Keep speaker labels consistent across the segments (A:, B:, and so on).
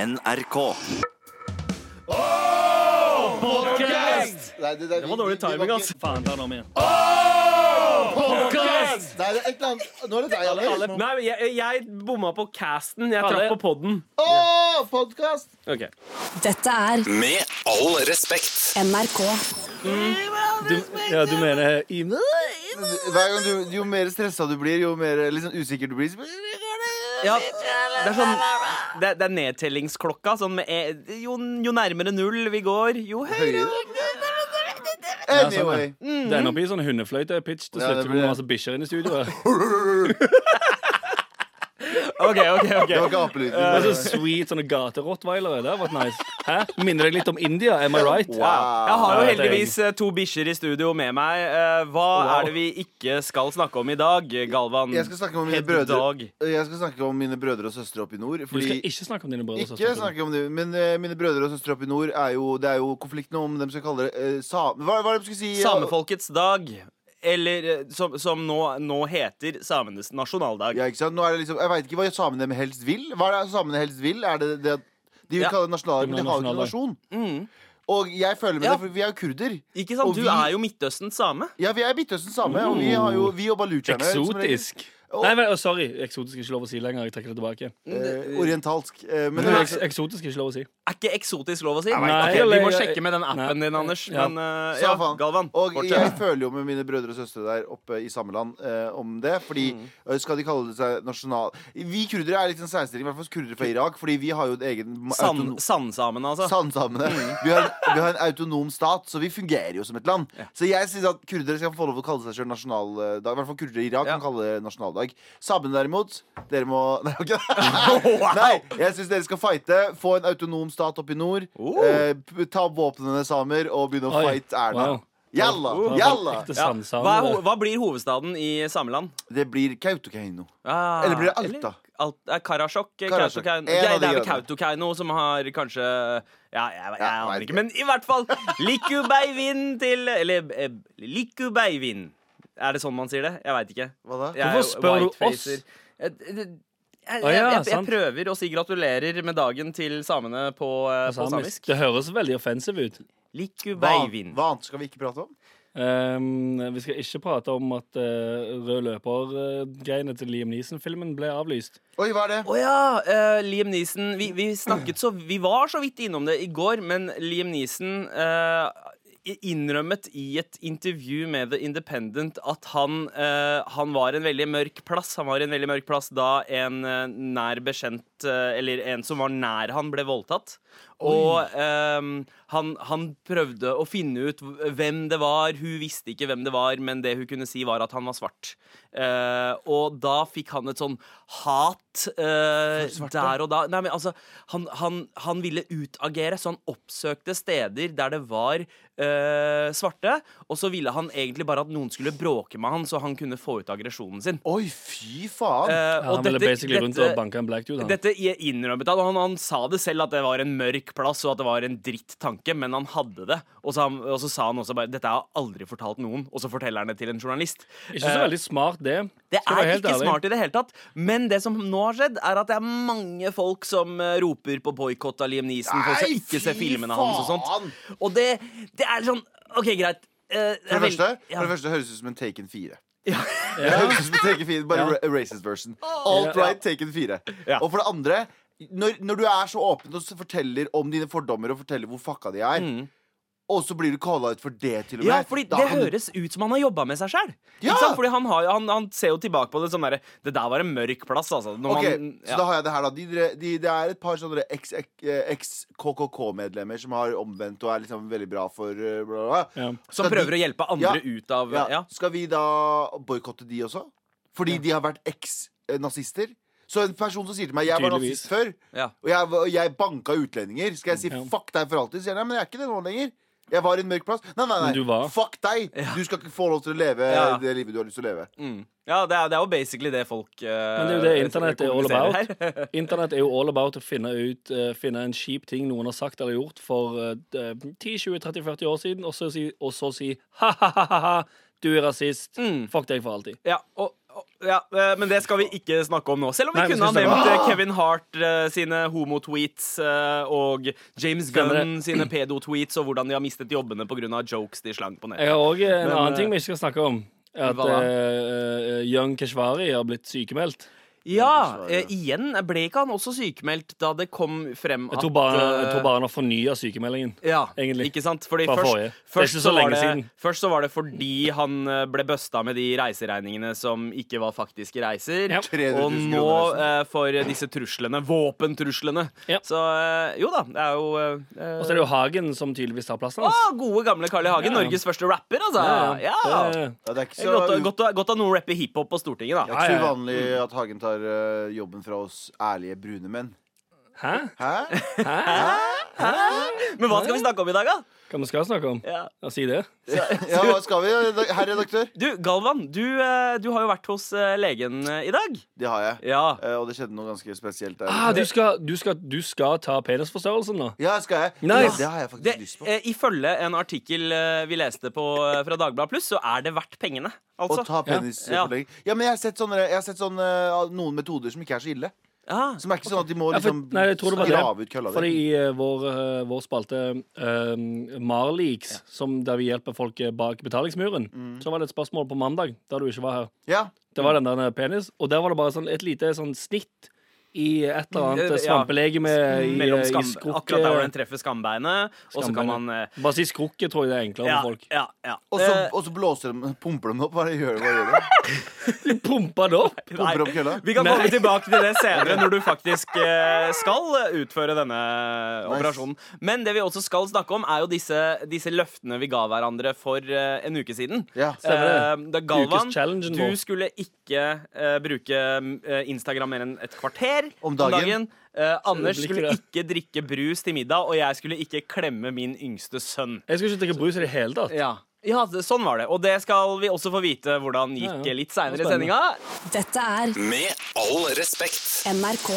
A: NRK.
B: Nei, det, det,
C: Det var dårlig timing, ass. Faen, ta den om igjen.
B: Nei, det er et eller annet. Nå er det deg, Alex.
D: Nei, men jeg, jeg bomma på casten. Jeg
C: Alle-
D: traff på podden.
B: Å, podkast!
D: Ok.
E: Dette er
A: Med all respekt.
E: NRK.
C: Ja, du mener
B: Hver gang du, jo mer stressa du blir, jo mer liksom, usikker du blir så-
D: Ja, det er sånn Det, det er nedtellingsklokka. Sånn med, e- jo, jo nærmere null vi går, jo høyere
B: Høyere.
C: sånn, ja.
B: Anyway.
C: Det ender opp i sånn hundefløyte-pitch til
B: Mm. Ja, det
C: slutt. Det
B: blir
C: blir
B: det.
C: masse bikkjer inne i studio. her.
D: Ok, ok, ok
B: Det var ikke apelyden.
C: Det er
B: bare-
C: så sweet sånne gaterottweilere. Det har vært nice. Hæ? Minner deg litt om India, am I right?
B: Wow.
D: Jeg har jo
C: Ja, det er
D: heldigvis eh, to bikkjer i studio med meg. Eh, Hva er det vi ikke skal snakke om i dag, Galvan?
B: Jeg skal snakke om mine
D: Head
B: brødre
D: dog.
B: Jeg skal snakke om mine brødre og søstre oppe i nord.
C: Du skal
B: Fordi
C: ikke snakke om dine brødre og
B: ikke
C: søstre.
B: snakke om det, men eh, mine brødre og søstre oppe i nord er jo, Det er jo konflikten om dem skal kalle det eh, sa, hva, hva er det de skal si?
D: Samefolkets dag. Eller eh, som, som nå, nå heter samenes nasjonaldag.
B: Ja, ikke sant? Nå er det liksom, jeg veit ikke hva samene helst vil. Hva er det samene helst vil? Er det det at de vil
D: Ja. Mm.
B: kalle det nasjonaldag, men de har jo ikke noen nasjon. Og jeg føler med
D: Ja.
B: det, for vi er jo kurder.
D: Ikke
B: Og
D: sant? Du
B: vi-
D: er jo Midtøstens same.
B: Ja, vi er Midtøsten same, og vi, har jo, vi og balutsjerne som regel.
C: Eksotisk. Nei, men, å, sorry. Eksotisk er ikke lov å si lenger. Jeg trekker det tilbake.
B: Eh, orientalsk. Eh, men
C: Men
B: det,
C: eks Mm. eksotisk er ikke lov å si.
D: Er ikke eksotisk lov å si? Ok,
C: vet ikke.
D: vi må
C: Eller-
D: sjekke med den appen
C: Nei.
D: din, Anders.
C: Ja.
D: Men eh,
B: Så
D: ja,
B: faen.
D: Galvan,
B: Og jeg
D: fortsett.
B: føler jo med mine brødre og søstre der oppe i samme land eh, om det. Fordi
D: Mm.
B: eh, skal de kalle det seg nasjonal... Vi kurdere er litt en særstilling, i hvert fall kurdere fra Irak, fordi vi har jo et egen
D: Sand,
B: autonom-
D: sandsamene, altså.
B: Sandsamene. Vi, har, vi har en autonom stat, så vi fungerer jo som et land. Så jeg syns at kurdere skal få lov å kalle seg sjøl nasjonaldag. I hvert fall kurdere i Irak
D: Ja.
B: kan kalle det nasjonaldag. Samene derimot, dere må Nei, ok. Nei jeg syns dere skal fighte. Få en autonom stat opp i nord.
D: Oh.
B: Eh, p- ta våpnene samer og begynne å
C: Oi,
B: fighte Erna.
C: wow.
B: Jalla!
C: Det var
B: Jalla!
C: Ekte
D: Ja. Hva, er, ho-
C: sandsamer.
D: hva blir hovedstaden i sameland?
B: Det blir Kautokeino.
D: Ah,
B: Eller blir det Alta?
D: Alt, eh, Karasjok? eh,
B: Karasjok. En av
D: Kautokeino. Ok,
B: de
D: det er vel
B: greiene.
D: Kautokeino som har kanskje Ja, jeg, jeg,
B: Ja,
D: aner
B: vet
D: ikke.
B: ikke.
D: Men i hvert fall Likubeivin til Eller eh, Likubeivin. Er det sånn man sier det? Jeg veit ikke.
B: Hva da?
D: Jeg er
C: Hvorfor
D: jo
C: spør du
D: whitefacer.
C: oss?
D: Jeg, jeg, jeg,
C: Å ja,
D: jeg, jeg
C: sant.
D: prøver å si gratulerer med dagen til samene på, eh, på samisk.
C: Det høres veldig offensive ut.
B: Hva,
D: Likubeivin.
B: hva annet skal vi ikke prate om?
C: Um, vi skal ikke prate om at eh, rød løper-greiene til Liam Neeson-filmen ble avlyst.
B: Oi, hva er det?
D: Å ja, eh, Liam Neeson. Vi, vi snakket så Vi var så vidt innom det i går, men Liam Neeson eh, innrømmet i et intervju med The Independent at han, eh, han var en veldig mørk plass. Han var i en veldig mørk plass da en eh, nær bekjent, eh, eller en som var nær han, ble voldtatt. Og ehm, han, han prøvde å finne ut hvem det var. Hun visste ikke hvem det var, men det hun kunne si, var at han var svart. Eh, og da fikk han et sånn hat eh, der og da. Nei, men altså, han, han, han ville utagere, så han oppsøkte steder der det var eh, svarte. Og så ville han egentlig bare at noen skulle bråke med han, så han kunne få ut aggresjonen sin.
B: Oi, fy faen!
D: Eh,
C: Han ville basically rundt og
D: dette-
C: banka en black dude. Han.
D: dette innrømmet han, og han. Han sa det selv at det var en mørk plass og at det var en drittanke, men han hadde det. Og så, han, og så sa han også bare 'dette har jeg aldri fortalt noen', og så forteller han det til en journalist. Eh,
C: Ikke så veldig smart, det.
D: Det
C: Skal jeg være
D: er
C: helt
D: ikke
C: ærlig.
D: smart i det hele tatt, men det som nå har skjedd, er at det er mange folk som eh, roper på boikott av Liam Neeson, folk som
B: Nei,
D: ikke ser
B: fy
D: filmene hans og
B: faen!
D: sånt. Og det, det er sånn OK, greit.
B: For
D: eh, jeg
B: det,
D: vil-
B: første,
D: ja.
B: for det første høres det ut som en Taken 4. Det høres ut som en Taken 4 Bare ra- racist version. Alt right, Taken 4.
D: Ja.
B: Og for det andre, når, når du er så åpen og så forteller om dine fordommer og forteller hvor fucka de er,
D: Mm.
B: og så blir du calla ut for det, til og med
D: Ja, fordi
B: da
D: Det
B: kan du-
D: høres ut som han har jobba med seg sjøl.
B: Ja!
D: Fordi han, har, jo- han, han ser jo tilbake på det sånn derre Det der var en mørk plass, altså. Når
B: Ok,
D: man,
B: så da har jeg det her da de, de, Det er et par sånne eh, eks-KKK-medlemmer Som har omvendt og er liksom veldig bra for eh, bla, bla, bla.
C: Ja.
D: Som
B: Skal
D: prøver
B: de-
D: å hjelpe andre
B: Ja,
D: ut av
B: ja.
D: ja.
B: Skal vi da boykotte de også? Fordi de har vært eks-nazister Så en person som sier til meg Jeg var
C: Tydeligvis.
B: nazist før
D: Ja.
B: Og jeg, var- og jeg banka utlendinger Skal jeg si
C: Ja.
B: fuck deg for alltid? Sier jeg, nei, men jeg er ikke det nå lenger jeg var i en mørk plass Nei, nei,
C: Men du
B: nei,
C: var.
B: fuck deg Du skal ikke få lov til å leve
D: Ja.
B: det livet du har lyst til å leve
D: Mm. ja det, er, det er jo basically det folk eh,
C: Men det er jo det internett er all about. Internett er jo all about å finne ut eh, Finne en kjip ting noen har sagt eller gjort for eh, eh, 10-20-30-40 år
D: Mm.
C: siden, og så si, og så si ha-ha-ha, du er rasist, fuck deg for alltid.
D: Ja, og, ja, eh, men det skal vi ikke snakke om nå. Selv om vi
C: Nei, vi
D: kunne ha
C: skal
D: nevnt eh, Kevin Hart eh, sine homotweets eh, og James
C: Stemmer
D: Gunn sine pedo-tweets og hvordan de har mistet jobbene pga. jokes de slang på
C: Jeg
D: nettet.
C: har òg en
D: Men,
C: annen
D: eh,
C: ting vi ikke skal snakke om. At
D: hva da?
C: eh, eh, Young Keshvari har blitt sykemeldt.
D: Ja, eh, igjen ble ikke han også sykemeldt da det kom frem at
C: Jeg tror bare, jeg
D: eh,
C: tror bare han har fornya sykemeldingen.
D: Ja,
C: Egentlig.
D: ikke sant? Fordi
C: Bare
D: først,
C: forrige. Det er
D: først,
C: ikke så
D: så var
C: lenge
D: det,
C: siden.
D: først så var det fordi han eh, ble busta med de reiseregningene som ikke var faktiske reiser.
C: Ja.
B: 300
D: Og
B: 000
D: nå
B: kroner,
D: eh, for disse truslene, våpentruslene.
C: Ja.
D: Så eh, jo da, det er jo eh,
C: Og så er det jo Hagen som tydeligvis tar plassen
D: Å,
C: hans.
D: gode, gamle Carl I. Hagen.
C: Ja.
D: Norges første rapper, altså. Ja.
C: Det-
B: Ja, det er ikke så,
D: Det er Godt, å- godt, å- godt at noen rapper hiphop på Stortinget,
B: det
D: da.
B: er ikke
C: Ja, Mm.
B: så
C: ja.
B: uvanlig at Hagen tar eh, jobben fra oss ærlige brune menn.
C: Hæ?
B: Hæ?
D: Men hva skal vi snakke om i dag, da?
C: Hva vi skal snakke om?
D: Ja.
C: Ja, si det.
B: Ja, hva skal vi, herr redaktør?
D: Du, Galvan, du, eh, du har jo vært hos eh, legen eh, i dag.
B: Det har jeg.
D: Ja.
B: Eh, og det skjedde noe ganske spesielt der.
C: Ah, du, skal, du, skal, du skal ta penisforstørrelsen nå?
B: Ja, skal jeg?
C: Nei.
B: Ja, det har jeg faktisk
D: Det,
B: lyst på.
D: eh, ifølge en artikkel eh, vi leste på, eh, fra Dagbladet Pluss, så er det verdt pengene.
B: Å
D: Altså.
B: ta penisforlenging. Ja. men jeg har sett, sånne, jeg har sett sånne, eh, noen metoder som ikke er så ille.
D: Ja.
B: Som er ikke sånn at de må
C: Ja, for,
B: liksom
C: nei, jeg tror det var
B: grave
C: det.
B: ut kølla
C: Fordi
B: di.
C: i eh, vår, eh, vår spalte eh, Marleaks, som der vi hjelper folk eh, bak betalingsmuren, så var det et spørsmål på mandag, da du ikke var her.
B: Ja.
C: Det var den der eh, penis, og der var det bare sånn, et lite sånn snitt i et eller annet
D: Ja.
C: eh, svampelege med i,
D: Mellom
C: eh,
D: skam,
C: i skrukket.
D: akkurat der hvor den treffer skambeinet. Og så kan
C: Skambeinet.
D: man eh,
C: Bare si skrukket, tror jeg det er enklere
D: ja,
C: for folk.
D: ja, ja.
B: Og så,
D: Eh,
B: og så blåser de, pumper de opp. Hva gjør de? Hva gjør de?
C: De pumpa det opp!
B: Pumper opp kølla?
D: Vi kan komme tilbake til det senere når du faktisk eh, skal utføre denne eh, operasjonen. Men det vi også skal snakke om, er jo disse, disse løftene vi ga hverandre for eh, en uke siden.
B: Ja.
C: Stemmer
D: Eh, da Galvan,
C: Ukeschallengen
D: du
C: vår.
D: skulle ikke eh, bruke eh, Instagram mer enn et kvarter
B: Om dagen.
D: Eh, Anders
C: det blir
D: skulle
C: ikke
D: ikke drikke brus til middag, og jeg skulle ikke klemme min yngste sønn.
C: Jeg skal ikke drikke brus i det hele tatt.
D: Ja, det, Sånn var det. Og det skal vi også få vite hvordan gikk
C: Ja, ja.
D: eh, litt seinere i
C: Spennende.
D: sendinga.
E: Dette er
A: Med all respekt.
E: NRK.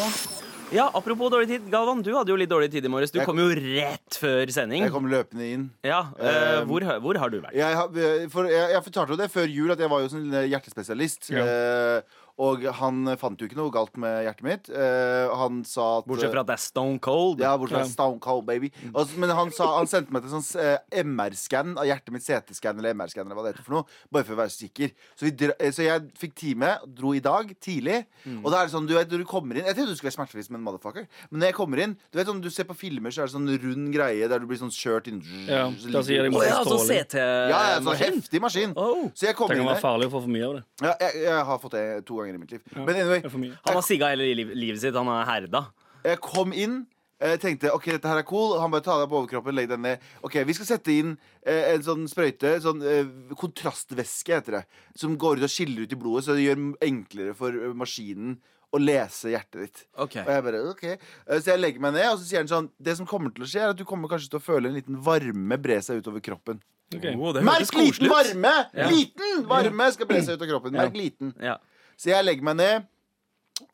D: Ja, apropos dårlig tid, Galvan, du hadde jo litt dårlig tid i morges. Du
B: Jeg-
D: kom jo rett før sending.
B: Jeg kom løpende inn.
D: Ja, eh,
B: Eh,
D: hvor, hø- hvor har du vært?
B: Jeg, har- for jeg, jeg fortalte jo det før jul at jeg var jo sånn hjertespesialist. Eh, og han fant jo ikke noe galt med hjertet mitt. Eh, han sa at
D: Bortsett fra at det er stone cold.
B: Ja, bortsett fra
C: Ja.
B: Stone Cold Baby. Og så- men han, sa, han sendte meg til sånn eh, MR-scan av hjertet mitt, CT-scan eller MR-scan eller hva det heter for noe, bare for å være sikker. Så, vi dra, eh, så jeg fikk time, dro i dag tidlig, og da er det sånn, du vet, når du kommer inn Jeg tenkte du skulle være smertefri som en motherfucker, men når jeg kommer inn, du vet sånn, du ser på filmer, så er det sånn rund greie der du blir sånn kjørt inn
C: Ja,
B: så
C: da sier
B: ligger du-
D: Å
C: de bare-
D: ja, sånn
C: Stråling.
B: ja, ja, sånn
D: CT-maskin.
B: heftig maskin.
D: Oh.
B: Så jeg
C: Det
B: kommer
C: kan
B: inn
C: være
B: der.
C: farlig å få for mye av det.
B: Ja, jeg, jeg har fått det to ganger i mitt liv. Men anyway,
C: Det er for mye.
D: Han har sigga hele liv- livet sitt. Han er herda.
B: Jeg kom inn eh, tenkte ok, dette her er cool. Han bare ta deg på overkroppen, legg deg ned. Ok, Vi skal sette inn eh, en sånn sprøyte, sånn eh, kontrastvæske heter det, som går ut og skiller ut i blodet, så det gjør m- enklere for eh, maskinen å lese hjertet ditt.
D: Ok.
B: Og jeg bare, ok Eh, Så jeg legger meg ned, og så sier han sånn Det som kommer til å skje, er at du kommer kanskje til å føle en liten varme bre seg utover kroppen.
C: Ok.
D: Oh, det
B: Merk
D: hørtes
B: liten
D: koselig ut.
B: varme! Liten varme skal bre seg ut av kroppen. Merk liten.
D: Ja.
B: Så jeg legger meg ned.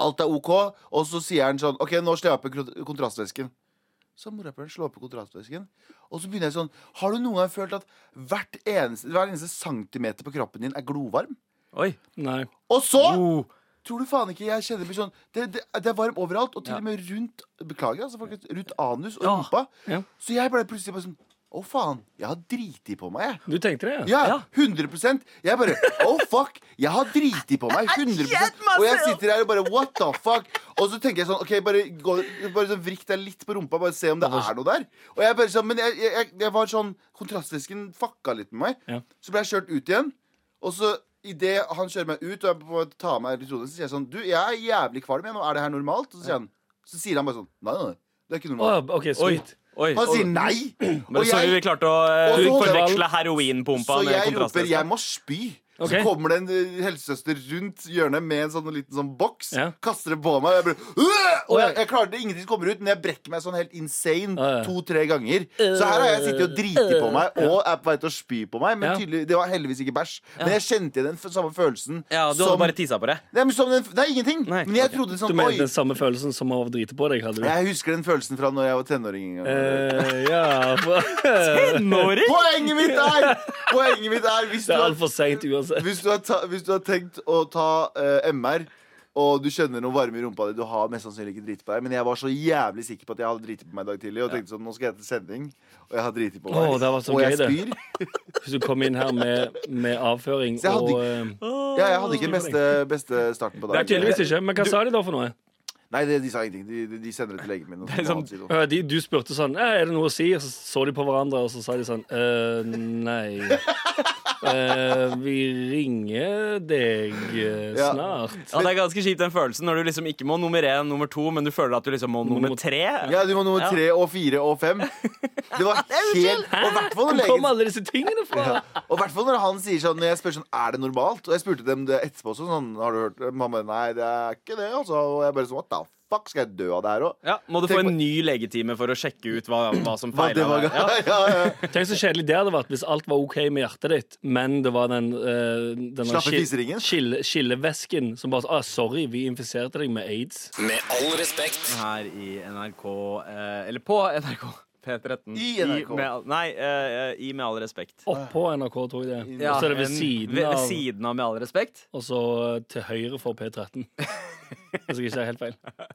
B: Alt er OK. Og så sier han sånn OK, nå slår jeg på kont- kontrastvæsken. Så morapuleren slår på kontrastvæsken. Og så begynner jeg sånn Har du noen gang følt at hvert eneste, hver eneste centimeter på kroppen din er glovarm?
D: Oi.
C: Nei.
B: Og så
D: Oh.
B: tror du faen ikke jeg kjenner det blir sånn Det, det, det er varm overalt, og til
D: Ja.
B: og med rundt Beklager, altså, folkens. Rundt anus og
D: Ja.
B: rumpa.
C: Ja.
B: Så jeg ble plutselig bare sånn Å, faen. Jeg har driti på meg, jeg.
C: Du tenkte det, ja?
B: Ja, 100 Jeg bare Oh, fuck! Jeg har driti på meg. 100 Og jeg sitter her og bare What the fuck? Og så tenker jeg sånn OK, bare, gå, bare sånn, vrikk deg litt på rumpa, bare se om det er noe der. Og jeg bare sånn Men jeg, jeg, jeg- jeg var sånn Kontrastvæsken fucka litt med meg.
C: Ja.
B: Så ble jeg kjørt ut igjen. Og så idet han kjører meg ut og jeg på, tar av meg elektroden, så sier jeg sånn Du, jeg er jævlig kvalm, jeg nå. Er det her normalt? Og så sier han, så sier han bare sånn Nei, nei, nei. Det er ikke
C: Å,
B: normalt.
C: OK,
D: Oi.
C: sweet.
D: Oi.
B: Han sier
D: Oi.
B: nei.
D: Men sorry, vi klarte å eh,
B: Og så holder-
D: forveksle heroinpumpa
B: Så
D: med
B: jeg roper
D: kontrasten.
B: 'jeg må spy'.
C: Ok.
B: Så kommer det en eh, helsesøster rundt hjørnet med en sånn liten sånn boks.
C: Ja.
B: Kaster det på meg. Og jeg bare, «Åh!» og
C: Oi.
B: jeg, jeg klarer det, ingenting kommer ut, men jeg brekker meg sånn helt insane
C: Ja, ja.
B: to-tre ganger. Så her har jeg sittet og driti på meg og er på vei til å spy på meg. Men
C: Ja.
B: tydelig, det var heldigvis ikke bæsj. Men jeg kjente igjen den f- samme følelsen
D: Ja, du hadde
B: som,
D: bare tissa på det.
B: nei, men som den, Nei, ingenting.
D: Nei,
B: men jeg
D: ok.
B: trodde
C: Du
B: sånn
C: mener
B: Oi.
C: den samme følelsen som av å drite på deg, hadde du?
B: Jeg husker den følelsen fra når jeg var tenåring. en gang.
C: Eh, ja for-
D: Norge!
B: Poenget mitt er Poenget mitt er hvis du,
C: Det er
B: har,
C: altfor seint uansett.
B: hvis, du har ta, hvis du har tenkt å ta eh, MR og du kjenner noe varme i rumpa di Du har mest sannsynlig ikke driti på deg, men jeg var så jævlig sikker på at jeg hadde driti på meg i dag tidlig. Og tenkte sånn, nå skal jeg til sending, og jeg har driti på meg.
C: Åh, det var så
B: og jeg
C: gøy,
B: spyr.
C: det. Hvis du kom inn her med, med avføring
B: Så jeg hadde
C: og eh,
B: Ja, jeg hadde ikke den beste, beste starten på
C: Det er
B: dagen.
C: tydeligvis ikke. Men hva sa de da for noe?
B: Nei, de, de sa ingenting. De, de- de sender det til legen min. Og så må
D: som-
B: han si noe.
C: Eh, De, du spurte sånn «Eh, Er det noe å si? Og så så de på hverandre, og så sa de sånn «Eh, Nei. Eh, vi ringer deg eh,
B: Ja.
C: snart.
D: Ja, Det er ganske kjipt den følelsen når du liksom ikke må nummer én, nummer to, men du føler at du liksom må nummer tre.
B: Ja, du må nummer
D: Ja.
B: tre og fire og fem. Det var helt Og i hvert fall når
C: Hvor kom
B: legen
C: alle disse tingene fra?
B: Og hvert fall når han sier sånn Når jeg spør sånn, er det normalt? Og jeg spurte dem det etterpå også sånn, har du hørt det? Mamma, nei, det er ikke det altså Og jeg bare sånn, what the fuck, skal jeg dø av det her også?
D: Ja, Må du få
B: Tenk på-
D: en ny legetime for å sjekke ut hva, hva som
B: Hva, det
D: feiler
B: var
D: deg? Ja.
B: ja, ja.
C: Tenk så kjedelig det hadde vært hvis alt var OK med hjertet ditt, men det var den, eh, den
B: Slappe
C: skil-
B: fiseringen?
C: skille- skillevæsken som bare sa ah, 'Sorry, vi infiserte deg med aids'.
A: Med all respekt.
D: Her i NRK eh, Eller på NRK P13.
B: I NRK.
D: med, all- nei, eh, i Med all respekt.
C: Oppå NRK, tror jeg det. og så er det ved
D: en-
C: siden
D: ved,
C: av,
D: ved siden av Med all respekt.
C: og så eh, til høyre for P13. Hvis jeg ikke er helt feil.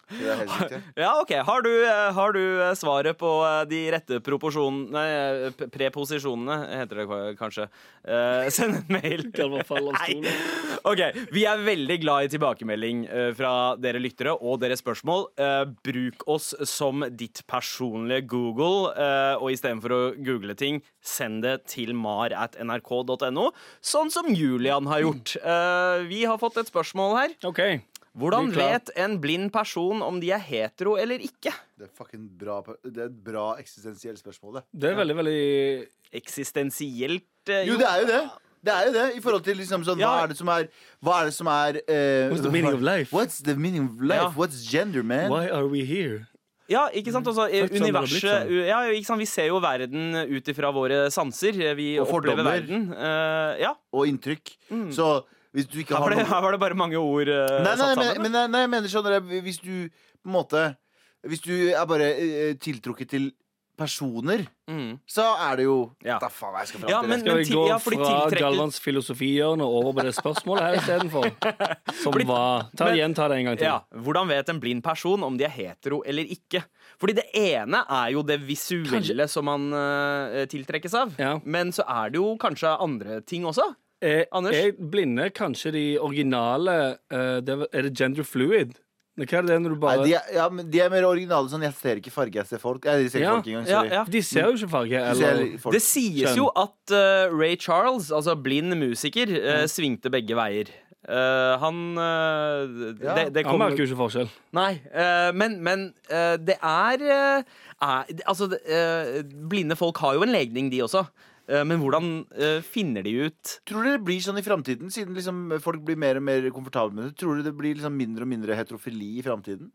B: Det er helt riktig
D: Ja, ok. Har du, eh, har du eh, svaret på eh, de rette proporsjonene Nei, eh, p- preposisjonene, heter det k- kanskje. Eh, send en mail.
C: Kan man falle av stolen?
D: Nei. Ok, Vi er veldig glad i tilbakemelding eh, fra dere lyttere og deres spørsmål. Eh, bruk oss som ditt personlige Google, eh, og istedenfor å google ting, send det til mar at nrk.no, sånn som Julian har gjort. Eh, vi har fått et spørsmål her.
C: OK.
D: Hvordan
C: Vi er klar.
D: vet en blind person om de er hetero eller ikke?
B: Det er fucking bra Det er et bra eksistensielt spørsmål det
C: Det er veldig, veldig
D: Eksistensielt eh,
B: Jo, det er jo det det er jo det, i forhold til liksom sånn, hva
D: Ja.
B: er det som er, hva er det som er eh,
C: What's the meaning of life?
B: What's the meaning of life?
D: Ja.
B: What's gender, man?
C: Why are we here?
D: Ja, ikke sant? Altså, eh,
C: Født sånn,
D: universet
C: eller blitt sånn.
D: u- ja, ikke sant? Vi ser jo verden ut ifra våre sanser. Vi
B: Og
D: opplever
B: fordommer.
D: verden. Eh, ja.
B: Og inntrykk Så, hvis du ikke
D: Her
B: har
D: var, det,
B: noe-
D: her var det bare mange ord eh,
B: Nei, nei,
D: satt
B: men,
D: sammen.
B: men, nei, nei, jeg mener sånn at hvis du på en måte Hvis du er bare eh, tiltrukket til personer,
D: Mm.
B: så er det jo
D: Ja.
B: Da faen hva jeg skal fram til.
D: Ja,
B: det.
D: men-
C: Skal vi
D: til-
C: gå
D: ja, fordi
C: fra
D: tiltrekkel-
C: Galvans filosofihjørne over på det spørsmålet her istedenfor? Som var ta,
D: men-
C: Gjenta det en gang til.
D: Ja, Hvordan vet en blind person om de er hetero eller ikke? Fordi det ene er jo det visuelle
C: Kanskje-
D: som man eh, tiltrekkes av.
C: Ja.
D: Men så er det jo kanskje andre ting også.
C: Er,
D: Anders?
C: Eh, er blinde kanskje de originale eh, det, er- Er det gender fluid? Hva er det når
B: Nei,
C: du bare
B: de, er, ja, men de er mer originale sånn. Jeg ser ikke farge, jeg ser folk. Jeg ser ikke
C: Ja,
B: folk engang.
D: ja,
B: Sorry.
D: ja.
C: De ser jo ikke farge.
B: Du ser
C: Eller,
B: folk.
D: Det sies
C: Skjønn.
D: jo at eh, Ray Charles, altså blind musiker,
B: Mm.
D: eh, svingte begge veier. Eh, han eh,
B: Ja.
D: det, det
C: han
D: kommer
C: merker jo ikke forskjell.
D: Nei, eh, men, men eh, det er, eh, er Altså, det, eh, blinde folk har jo en legning, de også. Eh, men hvordan eh, finner de ut
B: Tror dere det blir sånn i framtiden, siden liksom folk blir mer og mer komfortable med det? Tror dere det blir liksom mindre og mindre heterofili i framtiden?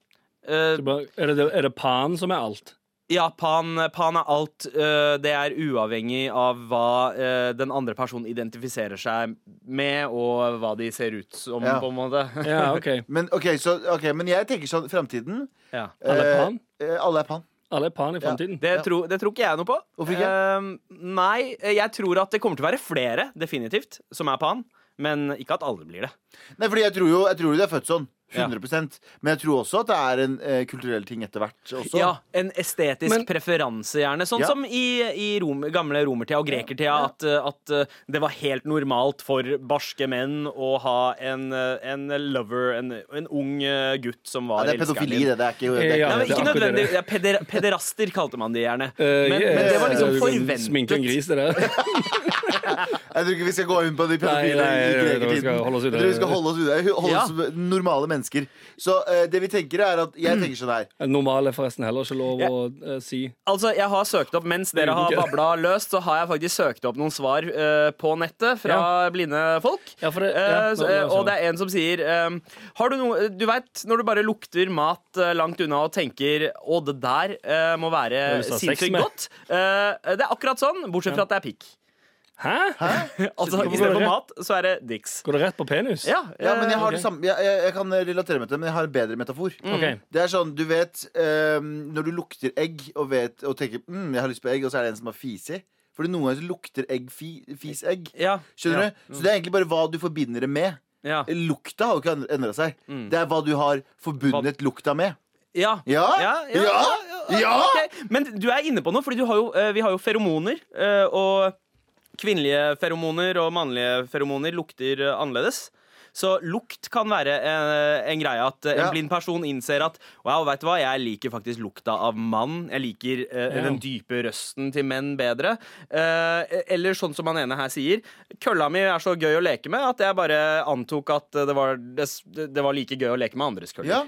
D: eh,
C: Det er bare- Er det, er det pan som er alt?
D: Ja, pan, pan er alt. eh, det er uavhengig av hva eh, den andre personen identifiserer seg med, og hva de ser ut som,
B: Ja.
D: på en måte.
C: Ja, OK.
B: Men, ok, så, ok, men jeg tenker sånn framtiden
D: ja.
C: Alle er
B: eh,
C: pan?
B: eh, alle er pan.
C: Alle er pan i framtiden.
D: Det, tro, det tror ikke jeg noe på.
B: Hvorfor ikke?
D: Eh, nei, jeg tror at det kommer til å være flere, definitivt, som er pan. Men ikke at alle blir det.
B: Nei, fordi jeg tror jo jeg tror jo de er født sånn.
D: Ja.
B: 100 Men jeg tror også at det er en eh, kulturell ting etter hvert også.
D: Ja, En estetisk
C: Men-
D: preferanse, gjerne. Sånn
B: Ja.
D: som i, i rom, gamle romertida og grekertida. At, eh, at eh, det var helt normalt for barske menn å ha en, eh, en lover, en, en ung eh, gutt som
B: Ja,
D: var
B: det er pedofili, det. Det er ikke, det er ikke,
C: Ja,
D: Nei, men
C: det er
D: ikke
C: akkurat
D: nødvendig.
C: det.
D: Ja, peder, pederaster kalte man de gjerne.
C: Eh,
D: men,
C: yeah,
D: men det var liksom
C: du kan Sminke
D: forventet.
C: en gris, det der.
B: Jeg tror ikke vi skal gå inn på de
C: Nei,
B: pedofile
C: nei,
B: i
C: jeg tror vi
B: grekertiden.
C: skal holde oss
B: Jeg
C: unna.
B: tror vi skal holde oss unna. Holde
D: Ja.
B: oss som normale mennesker. Så eh, det vi tenker, er at Jeg tenker sånn her.
C: Normal er forresten heller ikke lov å eh, si.
D: Altså, jeg har søkt opp Mens dere har
C: Ulike.
D: babla løst, så har jeg faktisk søkt opp noen svar eh, på nettet fra blinde folk.
C: Ja, for det- ja,
D: Eh,
C: det-
D: så, eh, og det er en som sier eh, Har du noe Du veit når du bare lukter mat eh, langt unna og tenker Å, det der eh, må være
C: har lyst til å ha sex
D: sinnssykt
C: med».
D: godt. Eh, det er akkurat sånn, bortsett fra at det er pikk.
C: Hæ?
D: Altså,
C: Hvorfor går det
D: Istedenfor
C: rett?
D: mat, så er det dicks.
C: Går det rett på penis?
D: Ja,
B: Ja, men jeg,
D: eh,
B: har det samme, jeg, jeg, jeg kan relatere meg til det, men jeg har en bedre metafor.
D: Mm.
C: Ok.
B: Det er sånn, du mm, vet eh, Når du lukter egg og, vet, og tenker mm, 'jeg har lyst på egg', og så er det en som har fisi Fordi noen ganger så lukter egg fi, fisegg.
D: Ja.
B: Skjønner
D: ja.
B: du? Så det er egentlig bare hva du forbinder det med.
D: Ja.
B: Lukta har jo ikke endra seg.
D: Mm.
B: Det er hva du har forbundet lukta med.
D: Ja.
B: Ja?
D: ja,
B: Ja?
D: ja,
B: Ja?
D: ok. Men du er inne på noe, Fordi du har jo, eh, vi har jo feromoner. eh, Og kvinnelige feromoner og mannlige feromoner lukter eh, annerledes. Så lukt kan være en, en greie at eh, en
B: Ja.
D: blind person innser at Wow, vet du hva, jeg liker faktisk lukta av mann. Jeg liker eh,
C: Ja.
D: den dype røsten til menn bedre. Eh, eller sånn som han ene her sier. Kølla mi er så gøy å leke med at jeg bare antok at eh, det var, det, det var like gøy å leke med andres køller.
B: Ja?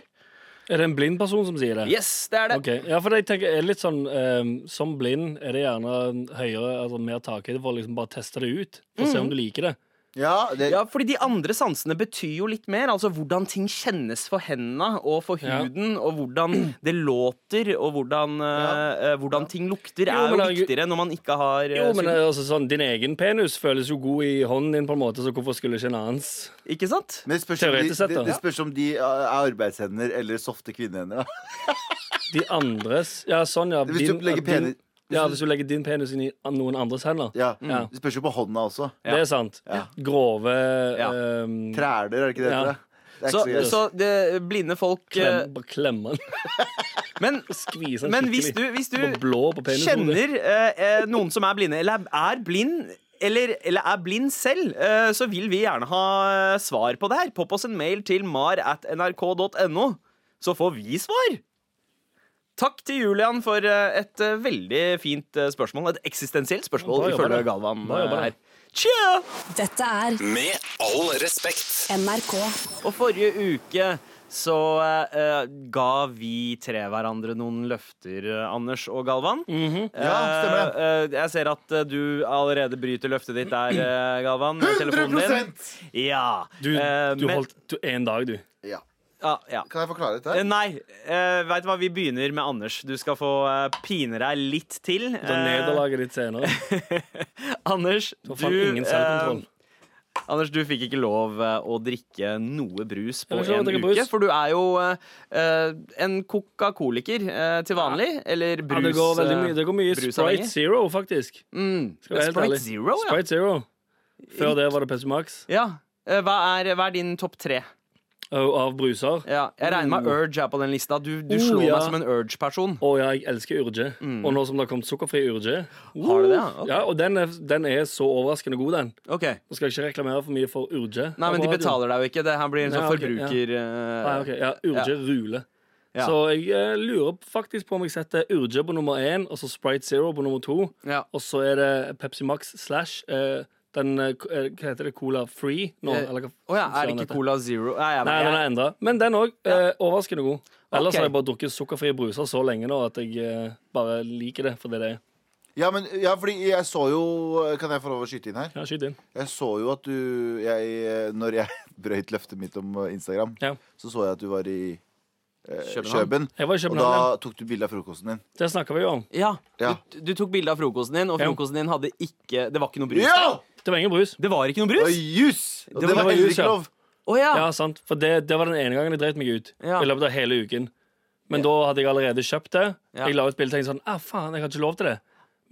C: Er det en blind person som sier det?
D: Yes, det er det.
C: Ok, Ja, for jeg tenker er det litt sånn eh, Som blind er det gjerne høyere, altså mer takhøyde for å liksom bare teste det ut. For å se om du liker det.
B: ja det,
D: Ja, fordi de andre sansene betyr jo litt mer. Altså hvordan ting kjennes for hendene og for
C: Ja.
D: huden, og hvordan det låter, og hvordan, eh, eh, hvordan ting lukter, er
C: Jo,
D: jo
C: men det er
D: viktigere når man ikke har eh,
C: Jo, men
D: syn-
C: eh, altså, sånn, Din egen penis føles jo god i hånden din, på en måte, så hvorfor skulle ikke en annens?
D: Ikke sant?
B: men det spørs, om de,
C: Teoretisk sett,
B: det,
C: da.
B: det spørs om de eh, er arbeidshender eller softe kvinnehender. da.
C: De andres Ja, sånn, ja.
B: Hvis du legger
C: din,
B: penis-
C: ja, hvis du legger din penis inn i an- noen andres hender.
B: Ja.
D: Mm.
C: Ja.
B: Det spørs jo på hånda også.
D: Ja.
C: Det er sant.
B: Ja.
C: Grove
D: Ja.
C: ehm,
B: Træler, er det ikke det?
C: Ja.
B: heter, da? Det er
D: Så,
B: ikke så, gøy.
D: så det, blinde folk eh,
C: klem, bare klemme den.
D: Men,
C: Skvise den
D: men hvis du,
C: skikkelig.
D: hvis du
C: Bare blå på penishodet.
D: kjenner eh, eh, noen som er blinde, eller er- er blind eller, eller er blind selv, eh, så vil vi gjerne ha eh, svar på det her. Popp oss en mail til mar at nrk.no, så får vi svar. Takk til Julian for eh, et eh, veldig fint eh, spørsmål. Et eksistensielt spørsmål,
C: Bra jobba,
D: ifølge
C: det.
D: Galvan.
C: Bra jobba,
D: eh,
C: det.
D: her. Tja!
E: Dette er
A: Med all respekt.
E: NRK.
D: Og forrige uke så eh, ga vi tre hverandre noen løfter, eh, Anders og Galvan.
C: Mhm.
B: Ja, stemmer det.
D: Eh, eh, jeg ser at eh, du allerede bryter løftet ditt der, eh, Galvan. med telefonen din.
B: 100
D: Ja.
C: Du,
D: eh,
C: du
D: men-
C: holdt du, en dag, du.
B: ja.
D: Ja, ja.
B: Kan jeg forklare dette? her?
D: Eh, Nei, uh, veit du hva, vi begynner med Anders. Du skal få eh, pine deg litt til.
C: Da nederlaget ditt senere.
D: Eh, Anders, du,
C: Da fant ingen selvkontroll.
D: eh, Anders, du fikk ikke lov eh, å drikke noe brus på
C: Jeg fikk ikke lov å
D: en uke,
C: drikke brus.
D: for du er jo eh, eh, en coca-coliker eh, til vanlig, eller brus...
C: ja, det går veldig
D: eh,
C: mye. Det går mye
D: brusavhengig.
C: Sprite Zero, faktisk.
D: Mm.
C: Skal jeg være
D: Sprite
C: helt ærlig.
D: Zero, ja.
C: Sprite Zero. Før det var det Pepsi Max.
D: Ja. Eh, Hva er, hva er din topp tre?
C: Og av bruser. Å
D: Ja, jeg regner med
C: Mm.
D: Urge er på den lista. Du, du
C: Oh,
D: slår
C: ja.
D: meg som en Urge-person.
C: ja, jeg elsker Urge. Og nå som det har kommet sukkerfri Urge
D: Mm. Har du det, ja? Ok.
C: Ja, Og den er, den er så overraskende god, den.
D: Ok.
C: Nå skal jeg ikke reklamere for mye for Urge.
D: Nei, men de
C: På radio.
D: betaler deg jo ikke. Det her blir en
C: Nei,
D: sånn
C: ok, ja.
D: forbruker...
C: Nei,
D: eh,
C: ok, ja, Urge Rule.
D: Ja.
C: Så jeg eh, lurer faktisk på om jeg setter Urge på nummer én og så Sprite Zero på nummer to.
D: Ja.
C: Og så er det Pepsi Max slash eh, den eh, k- eh, Hva heter det? Cola Free? Nå,
D: Eh,
C: eller hva
D: Å ja, er det
C: søren heter
D: ikke Cola Zero? Nei, jeg,
C: Nei, den er endra. Men den òg. Eh, overraskende god. Ellers
D: Ok.
C: har jeg bare drukket sukkerfrie bruser så lenge nå at jeg eh, bare liker det for det det er.
B: Ja, men, ja, fordi jeg så jo Kan jeg få lov å skyte inn her?
C: Ja, skyt inn.
B: Jeg så jo at du jeg, eh, Når jeg brøyt løftet mitt om eh, Instagram,
C: Ja.
B: så så jeg at du var i eh,
D: København.
B: Kjøben.
C: Jeg var i
B: Og
C: København.
B: da
C: ja.
B: tok du bilde av frokosten din.
C: Det snakka vi jo om.
D: Ja,
B: Ja.
D: Du, du tok bilde av frokosten din, og
C: Ja.
D: frokosten din hadde ikke Det var ikke noe brus. der.
B: Ja!
C: Det var ingen brus.
D: Det var ikke noe
B: Det var
D: brus?
B: jus! Og
D: Det
B: det
D: var
B: var heller
C: jus, ja.
B: ikke lov.
D: Å ja.
C: Ja, sant. For det, det var den ene gangen jeg dreit meg ut.
D: Ja.
C: I løpet av hele uken. Men da hadde jeg allerede kjøpt det.
D: Ja.
C: Jeg la ut bilde og tenkte sånn ah, faen, jeg har ikke lov til det.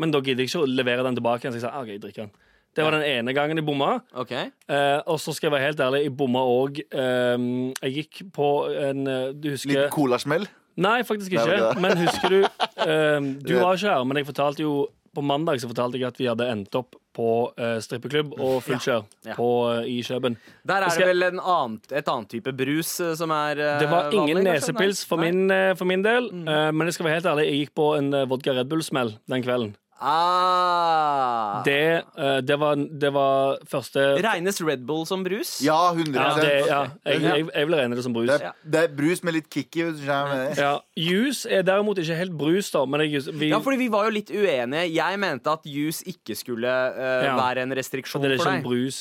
C: Men da gidder jeg ikke å levere den tilbake igjen. Så jeg sa ah, ok, jeg drikker den. Det var den ene gangen jeg bomma.
D: Ok.
C: Eh, og så skal jeg være helt ærlig, jeg bomma òg. jeg gikk på en eh, Du husker
B: Litt colasmell.
C: Nei, faktisk
B: Nei,
C: ikke.
B: var det det?
C: Men husker du ehm, Du var ikke her, men jeg fortalte jo på mandag så fortalte jeg at vi hadde endt opp på eh, strippeklubb og full kjør
D: Ja.
C: på, eh, i Kjøben.
D: Der er
C: Skal-
D: det vel en annen, et annet type brus eh, som er eh,
C: Det var ingen
D: vanlig, kanskje? Nei.
C: nesepils for
D: Nei. Mm.
C: min, eh, for min del, eh, men jeg skal være helt ærlig, jeg gikk på en eh, vodka Red Bull-smell den kvelden.
D: Ah.
C: Det, eh, det, var, det var første
D: Regnes Red Bull som brus?
B: Ja, 100
C: ja, det, ja, jeg,
B: Ja.
C: jeg, jeg vil regne det som brus.
B: altså? Det, er, det er brus med litt kick i. hvis du skjønner hva jeg mener.
C: Ja, Juice er derimot ikke helt brus, da. Men jeg, vi,
D: Ja, fordi vi var jo litt uenige. Jeg mente at juice ikke skulle eh,
C: Ja.
D: være en restriksjon
C: det er
D: for
C: ikke en
D: deg.
C: brus.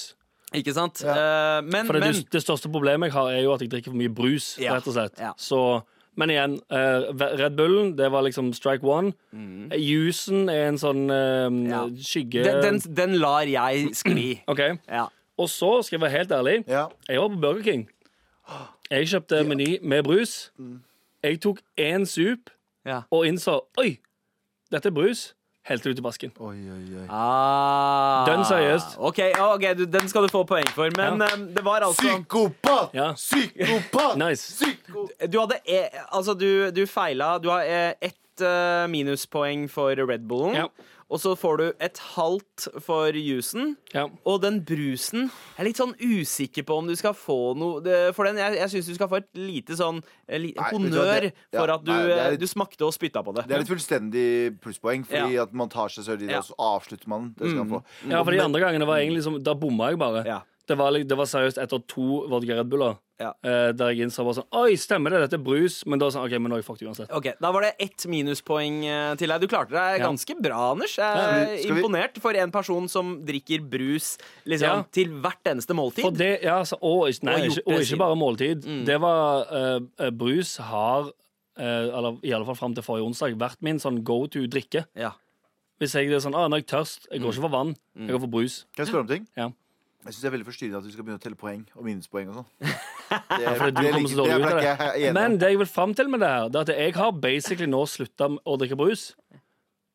D: Ikke sant? Eh, men,
C: For det,
D: men
C: det, det største problemet jeg har, er jo at jeg drikker for mye brus.
D: Ja,
C: rett og slett.
D: ja.
C: Så, men igjen, eh, Red Bullen det var liksom strike one. Eh, Juicen er en sånn eh,
D: Mm. Ja.
C: skygge...
D: den, den, den lar jeg skli.
C: Ok,
D: Ja.
C: Og så skal jeg være helt ærlig.
B: Ja.
C: Jeg var på Burger King. Jeg kjøpte meny med brus. Jeg tok én sup
D: Ja.
C: og innså Oi, dette er brus. Helt ut i vasken.
B: Oi, oi, oi.
D: Ah.
C: Dønn seriøst.
D: Ok, ja, ok, du, Den skal du få poeng for. Men
C: Ja.
D: eh, det var altså
B: Psykopat!
C: Ja.
B: Psykopat!
C: Nice.
B: Psyko...
D: Du hadde e, Altså, du, du feila. Du har eh, ett eh, minuspoeng for Red Bullen.
C: Ja.
D: Og så får du et halvt for juicen.
C: Ja.
D: Og den brusen Jeg er litt sånn usikker på om du skal få noe det- For den, jeg, jeg syns du skal få et lite sånn eh, li,
B: Nei, vet du hva,
D: honnør
B: det- ja,
D: for at du,
B: nei, det er
D: eh,
B: litt-
D: du smakte og spytta på det.
B: Det er et fullstendig plusspoeng, fordi
D: Ja.
B: at man tar seg sørgelig,
D: Ja.
B: og så avslutter man. Det skal man få.
C: Mm. Ja, for de andre gangene var egentlig som Da bomma jeg bare.
D: Ja.
C: Det, var, li- det var seriøst etter to vodka Red Buller.
D: Ja.
C: eh, Der jeg innså bare sånn Oi, stemmer det, dette er brus. Men da sånn, ok, men nå har jeg fucked uansett.
D: Ok, Da var det ett minuspoeng eh, til deg. Du klarte deg
C: Ja.
D: ganske bra, Anders. Jeg
C: Ja,
D: er
B: skal vi- skal vi-
D: imponert for en person som drikker brus liksom,
C: Ja.
D: til hvert eneste måltid.
C: For det, ja, så, og, ikke- nei,
D: Og gjort
C: ikke, og
D: det
C: ikke
D: siden. Mm.
C: bare måltid. Det var eh, eh, Brus har, eh, eller i alle fall fram til forrige onsdag, vært min sånn go to drikke.
D: Ja.
C: Hvis jeg er sånn, ah, når jeg er tørst, jeg går ikke for vann, jeg går for brus.
B: Kan jeg spørre om ting?
C: Ja.
B: Jeg syns det er veldig forstyrrende at vi skal begynne å telle poeng og minuspoeng og sånn.
C: For du kommer så dårlig ut av det. Men
B: Men
C: det jeg vil fram til med det her, det er at jeg har basically nå slutta å drikke brus.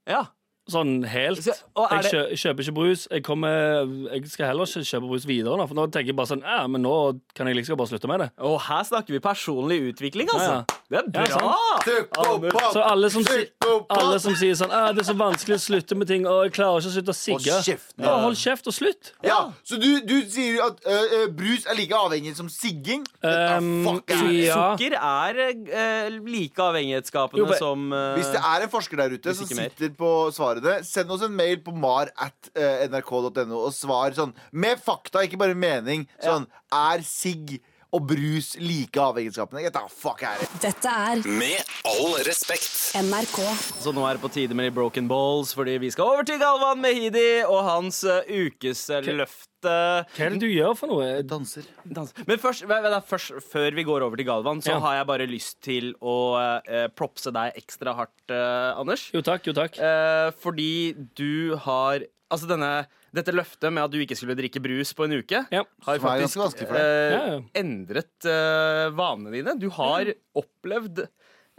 D: ja.
C: Sånn helt.
D: Så- og er
C: Jeg kjø, kjøper ikke brus. Jeg, kommer, jeg skal heller ikke kjøpe brus videre, nå, for nå tenker jeg bare sånn Ja, men nå kan jeg like liksom bare slutte med det.
D: Og her snakker vi personlig utvikling, altså. Det er
C: Ja,
D: bra!
B: Psykopat!
C: Så alle som, si,
B: Psykopat!
C: alle som sier sånn «Ah, 'Det er så vanskelig å slutte med ting', og 'jeg klarer ikke å slutte å sigge'.
B: Hold kjeft nå.
C: ja, hold kjeft og slutt.
B: Ja, Så du, du sier at ø, ø, brus er like avhengig som sigging? Dette er
C: Um,
B: fuck er
C: i-
B: det.
C: Ja.
D: Sukker er eh, like avhengighetsskapende
C: Jo, men-
D: som eh,
B: Hvis det er en forsker der ute som
D: ikke mer.
B: sitter på svarene, send oss en mail på mar at ø, nrk.no og svar sånn med fakta, ikke bare mening. Sånn er sigg og brus like avhengighetsskapende? Dette er fuck er det.
E: Dette er
A: Med all respekt.
E: NRK.
D: Så altså, nå er det på tide med de broken balls, fordi vi skal over til Galvan Mehidi og hans eh, ukesløfte.
C: Hva er det du gjør for noe?
B: Danser.
D: Dans. Men først, vent, vent da, først, før vi går over til Galvan, så
C: Ja.
D: har jeg bare lyst til å eh, propse deg ekstra hardt, eh, Anders.
C: Jo takk, jo takk.
D: Eh, fordi du har Altså denne, dette løftet med at du ikke skulle drikke brus på en uke,
C: Ja.
D: har
B: Som er
D: faktisk
B: ganske vanskelig for
D: eh,
C: Ja, ja.
D: endret eh, vanene dine. Du har opplevd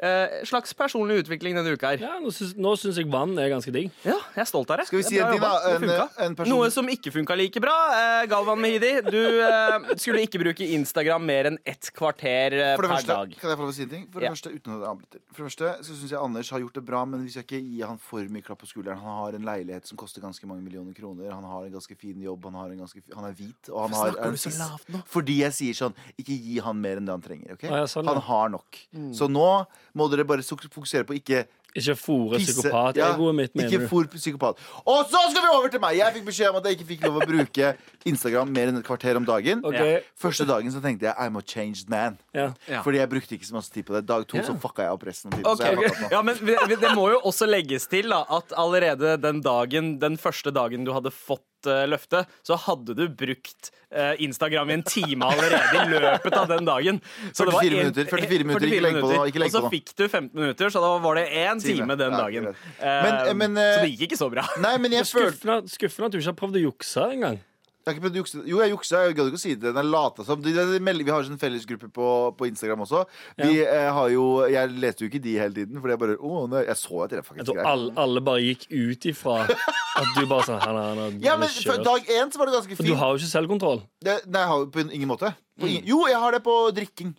D: eh, slags personlig utvikling denne uka her.
C: Ja, nå syns, nå syns jeg vann er ganske digg.
D: Ja, jeg er stolt av deg.
B: Skal vi
D: Det
B: si
D: er bra
B: at de
D: jobba.
B: var en,
D: Det funka.
B: en person
D: Noe som ikke funka like bra, eh, Galvan Mehidi. Du eh, skulle ikke bruke Instagram mer enn ett kvarter eh,
B: For det
D: per
B: første,
D: dag.
B: kan jeg få lov å si en ting? For det
D: Ja.
B: første, uten at jeg avbryter. For det første så syns jeg Anders har gjort det bra, men vi skal ikke gi han for mye klapp på skulderen. Han har en leilighet som koster ganske mange millioner kroner. Han har en ganske fin jobb. Han, har en ganske fi han er hvit. Og han har,
D: snakker
B: er
D: du
B: en
D: så
B: fisk.
D: lavt nå?
B: Fordi jeg sier sånn Ikke gi han mer enn det han trenger. ok?
C: Ah, ja, sånn, ja.
B: han har nok.
D: Mm.
B: Så nå må dere bare sok- fokusere på ikke
C: Ikke fòre
B: pisse
C: psykopat-egoet mitt, mener
B: Ikke
C: du.
B: for psykopat. Og så skal vi over til meg! Jeg fikk beskjed om at jeg ikke fikk lov å bruke Instagram mer enn et kvarter om dagen.
C: Ok.
D: Ja.
B: Første dagen så tenkte jeg I'm a changed man.
C: Ja.
D: Ja.
B: Fordi jeg brukte ikke så masse tid på det. Dag to så fucka jeg opp resten av tiden.
D: Ok,
B: så jeg har
D: ok.
B: fucka opp nå.
D: Ja, men vi- vi- Det må jo også legges til da, at allerede den dagen Den første dagen du hadde fått eh, løftet, så hadde du brukt eh, Instagram i en time allerede i løpet av den dagen. Så
B: 44 minutter, 44 minutter, ikke legg på nå, ikke legg
D: Og så
B: på nå.
D: fikk du 15 minutter, så da var det én
B: Time.
D: time den
B: Ja,
D: dagen.
B: jeg vet. Men-
D: Eh,
B: men, eh,
D: så det gikk ikke så bra.
B: Nei, men jeg følte
C: Skuffende, skuffende at du ikke har prøvd å jukse engang.
B: jeg har ikke prøvd å jukse. Jo, jeg juksa. Jeg gadd ikke å si det. Jeg lata som. De, de, de, melder- vi har jo en sånn fellesgruppe på, på Instagram også. De eh, har jo Jeg leste jo ikke de hele tiden, fordi jeg bare Å, nei, jeg så at det er
C: Jeg
B: faktisk
C: tror
B: greit.
C: alle, alle bare gikk ut ifra at du bare sånn han er- han er-
B: Ja,
C: han er
B: men for
C: kjørt.
B: dag én så var det ganske
C: For du
B: fint.
C: har Mm. jo ikke selvkontroll.
B: Det, nei, jeg har jo på ingen måte. På ingen, jo, jeg har det på drikking.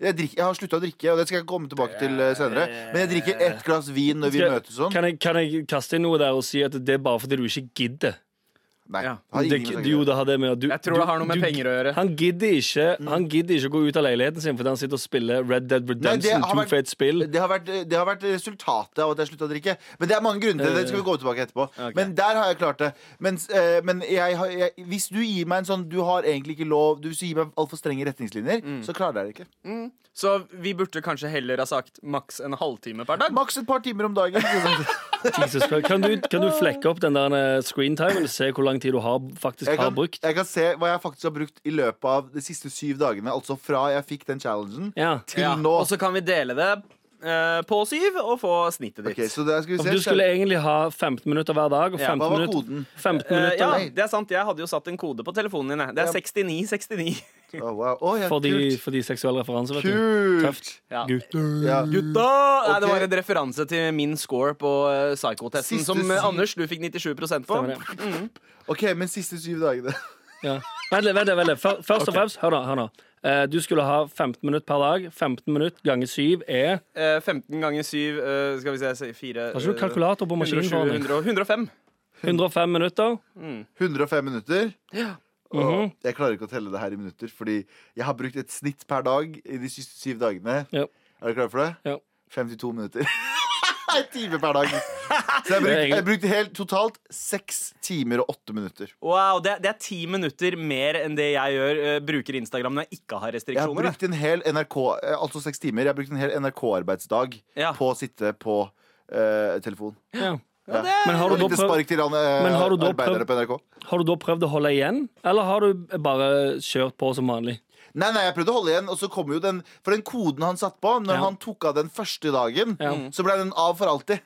B: Jeg, drikk, jeg har slutta å drikke, og det skal jeg komme tilbake til eh, senere. Men jeg drikker ett glass vin når vi
C: Skal-
B: møtes sånn.
C: Kan jeg, kan jeg kaste inn noe der og si at det er bare fordi du ikke gidder?
B: Nei.
D: Ja.
B: har
C: Det,
B: ingen
C: jo, det har det med at du,
D: Jeg tror
C: du,
D: det har noe med
C: du-
D: penger å gjøre.
C: Han gidder, ikke, han gidder ikke å gå ut av leiligheten sin fordi han sitter og spiller Red Dead
B: Mm. Nei, det
C: Redemption,
B: har
C: to
B: vært-
C: fate spill.
B: Det har, vært, det har vært resultatet av at jeg slutta å drikke. Men det er mange grunner til det. det skal vi gå tilbake etterpå Men der har jeg klart det. Mens, eh, men jeg, har- jeg, hvis du gir meg en sånn Du har egentlig ikke lov Du hvis du gir meg altfor strenge retningslinjer,
C: Mm.
B: så klarer jeg det ikke.
D: Så vi burde kanskje heller ha sagt maks en halvtime per dag.
B: Maks et par timer om dagen.
C: Jesus Christ. Kan, du, kan du flekke opp den der screentimen og se hvor lang tid du har faktisk
B: Jeg
C: har
B: kan,
C: brukt?
B: jeg kan se hva jeg faktisk har brukt i løpet av de siste syv dagene. Altså fra jeg fikk den challengen
C: Ja.
B: til
D: Ja,
B: nå.
D: og så kan vi dele det eh, på syv og få snittet ditt.
B: Ok, så der skal vi se.
C: Du skulle egentlig ha 15 minutter hver dag. Og
D: Ja,
C: 15
B: hva var
C: minutter,
B: koden?
C: 15
D: Eh,
C: minutter.
D: ja, det er sant. Jeg hadde jo satt en kode på telefonen din. jeg. Det er 6969.
B: Å, wow. Å, ja,
C: for de,
B: kult.
C: for de seksuelle referanser, vet du.
B: Kult!
C: Tøft.
D: Ja.
C: Gutter.
B: Ja.
D: Gutta! Nei, det
B: Mm. Ok.
D: var en referanse til min score på eh, Psycho-testen,
B: Siste
D: som eh,
B: si-
D: Anders, du fikk 97 på.
C: Stemmer det.
B: OK, men siste syv dagene.
C: Ja. Vent litt, vent litt, vent litt. Før- Først og fremst, hør nå. Hør nå. Eh, du skulle ha 15 minutter per dag. 15 minutter ganger 7 er
D: Eh, 15 ganger 7 eh, Skal vi se, eh, se 4
C: Har ikke du kalkulator på maskinen? foran deg?
D: 105.
C: 105 minutter.
B: 105 minutter.
C: Mhm.
B: Og jeg klarer ikke å telle det her i minutter, fordi jeg har brukt et snitt per dag i de siste syv dagene.
C: Ja.
B: Er du klar for det?
C: Ja.
B: 52 minutter. En time per dag. Så jeg
C: Det er
B: brukte,
C: egentlig-
B: jeg brukte helt totalt seks timer og åtte minutter.
D: Wow, det, det er ti minutter mer enn det jeg gjør, eh, bruker Instagram når jeg ikke har
B: Jeg har
D: restriksjoner. da.
B: brukt en hel NRK eh, Altså seks timer. Jeg har brukt en hel NRK-arbeidsdag
D: Ja.
B: på å sitte på eh, telefon.
C: Ja.
B: Ja.
C: Men har
B: Og
C: du da
B: lite
C: prøvd-
B: spark til han, eh,
C: Men har du da
B: arbeidere på NRK.
C: Har du da prøvd å holde igjen, eller har du bare kjørt på som vanlig?
B: Nei, nei, jeg prøvde å holde igjen, og så kom jo den For den koden han satt på, når
C: Ja.
B: han tok av den første dagen,
C: Ja.
D: Mm.
B: så ble den av for alltid.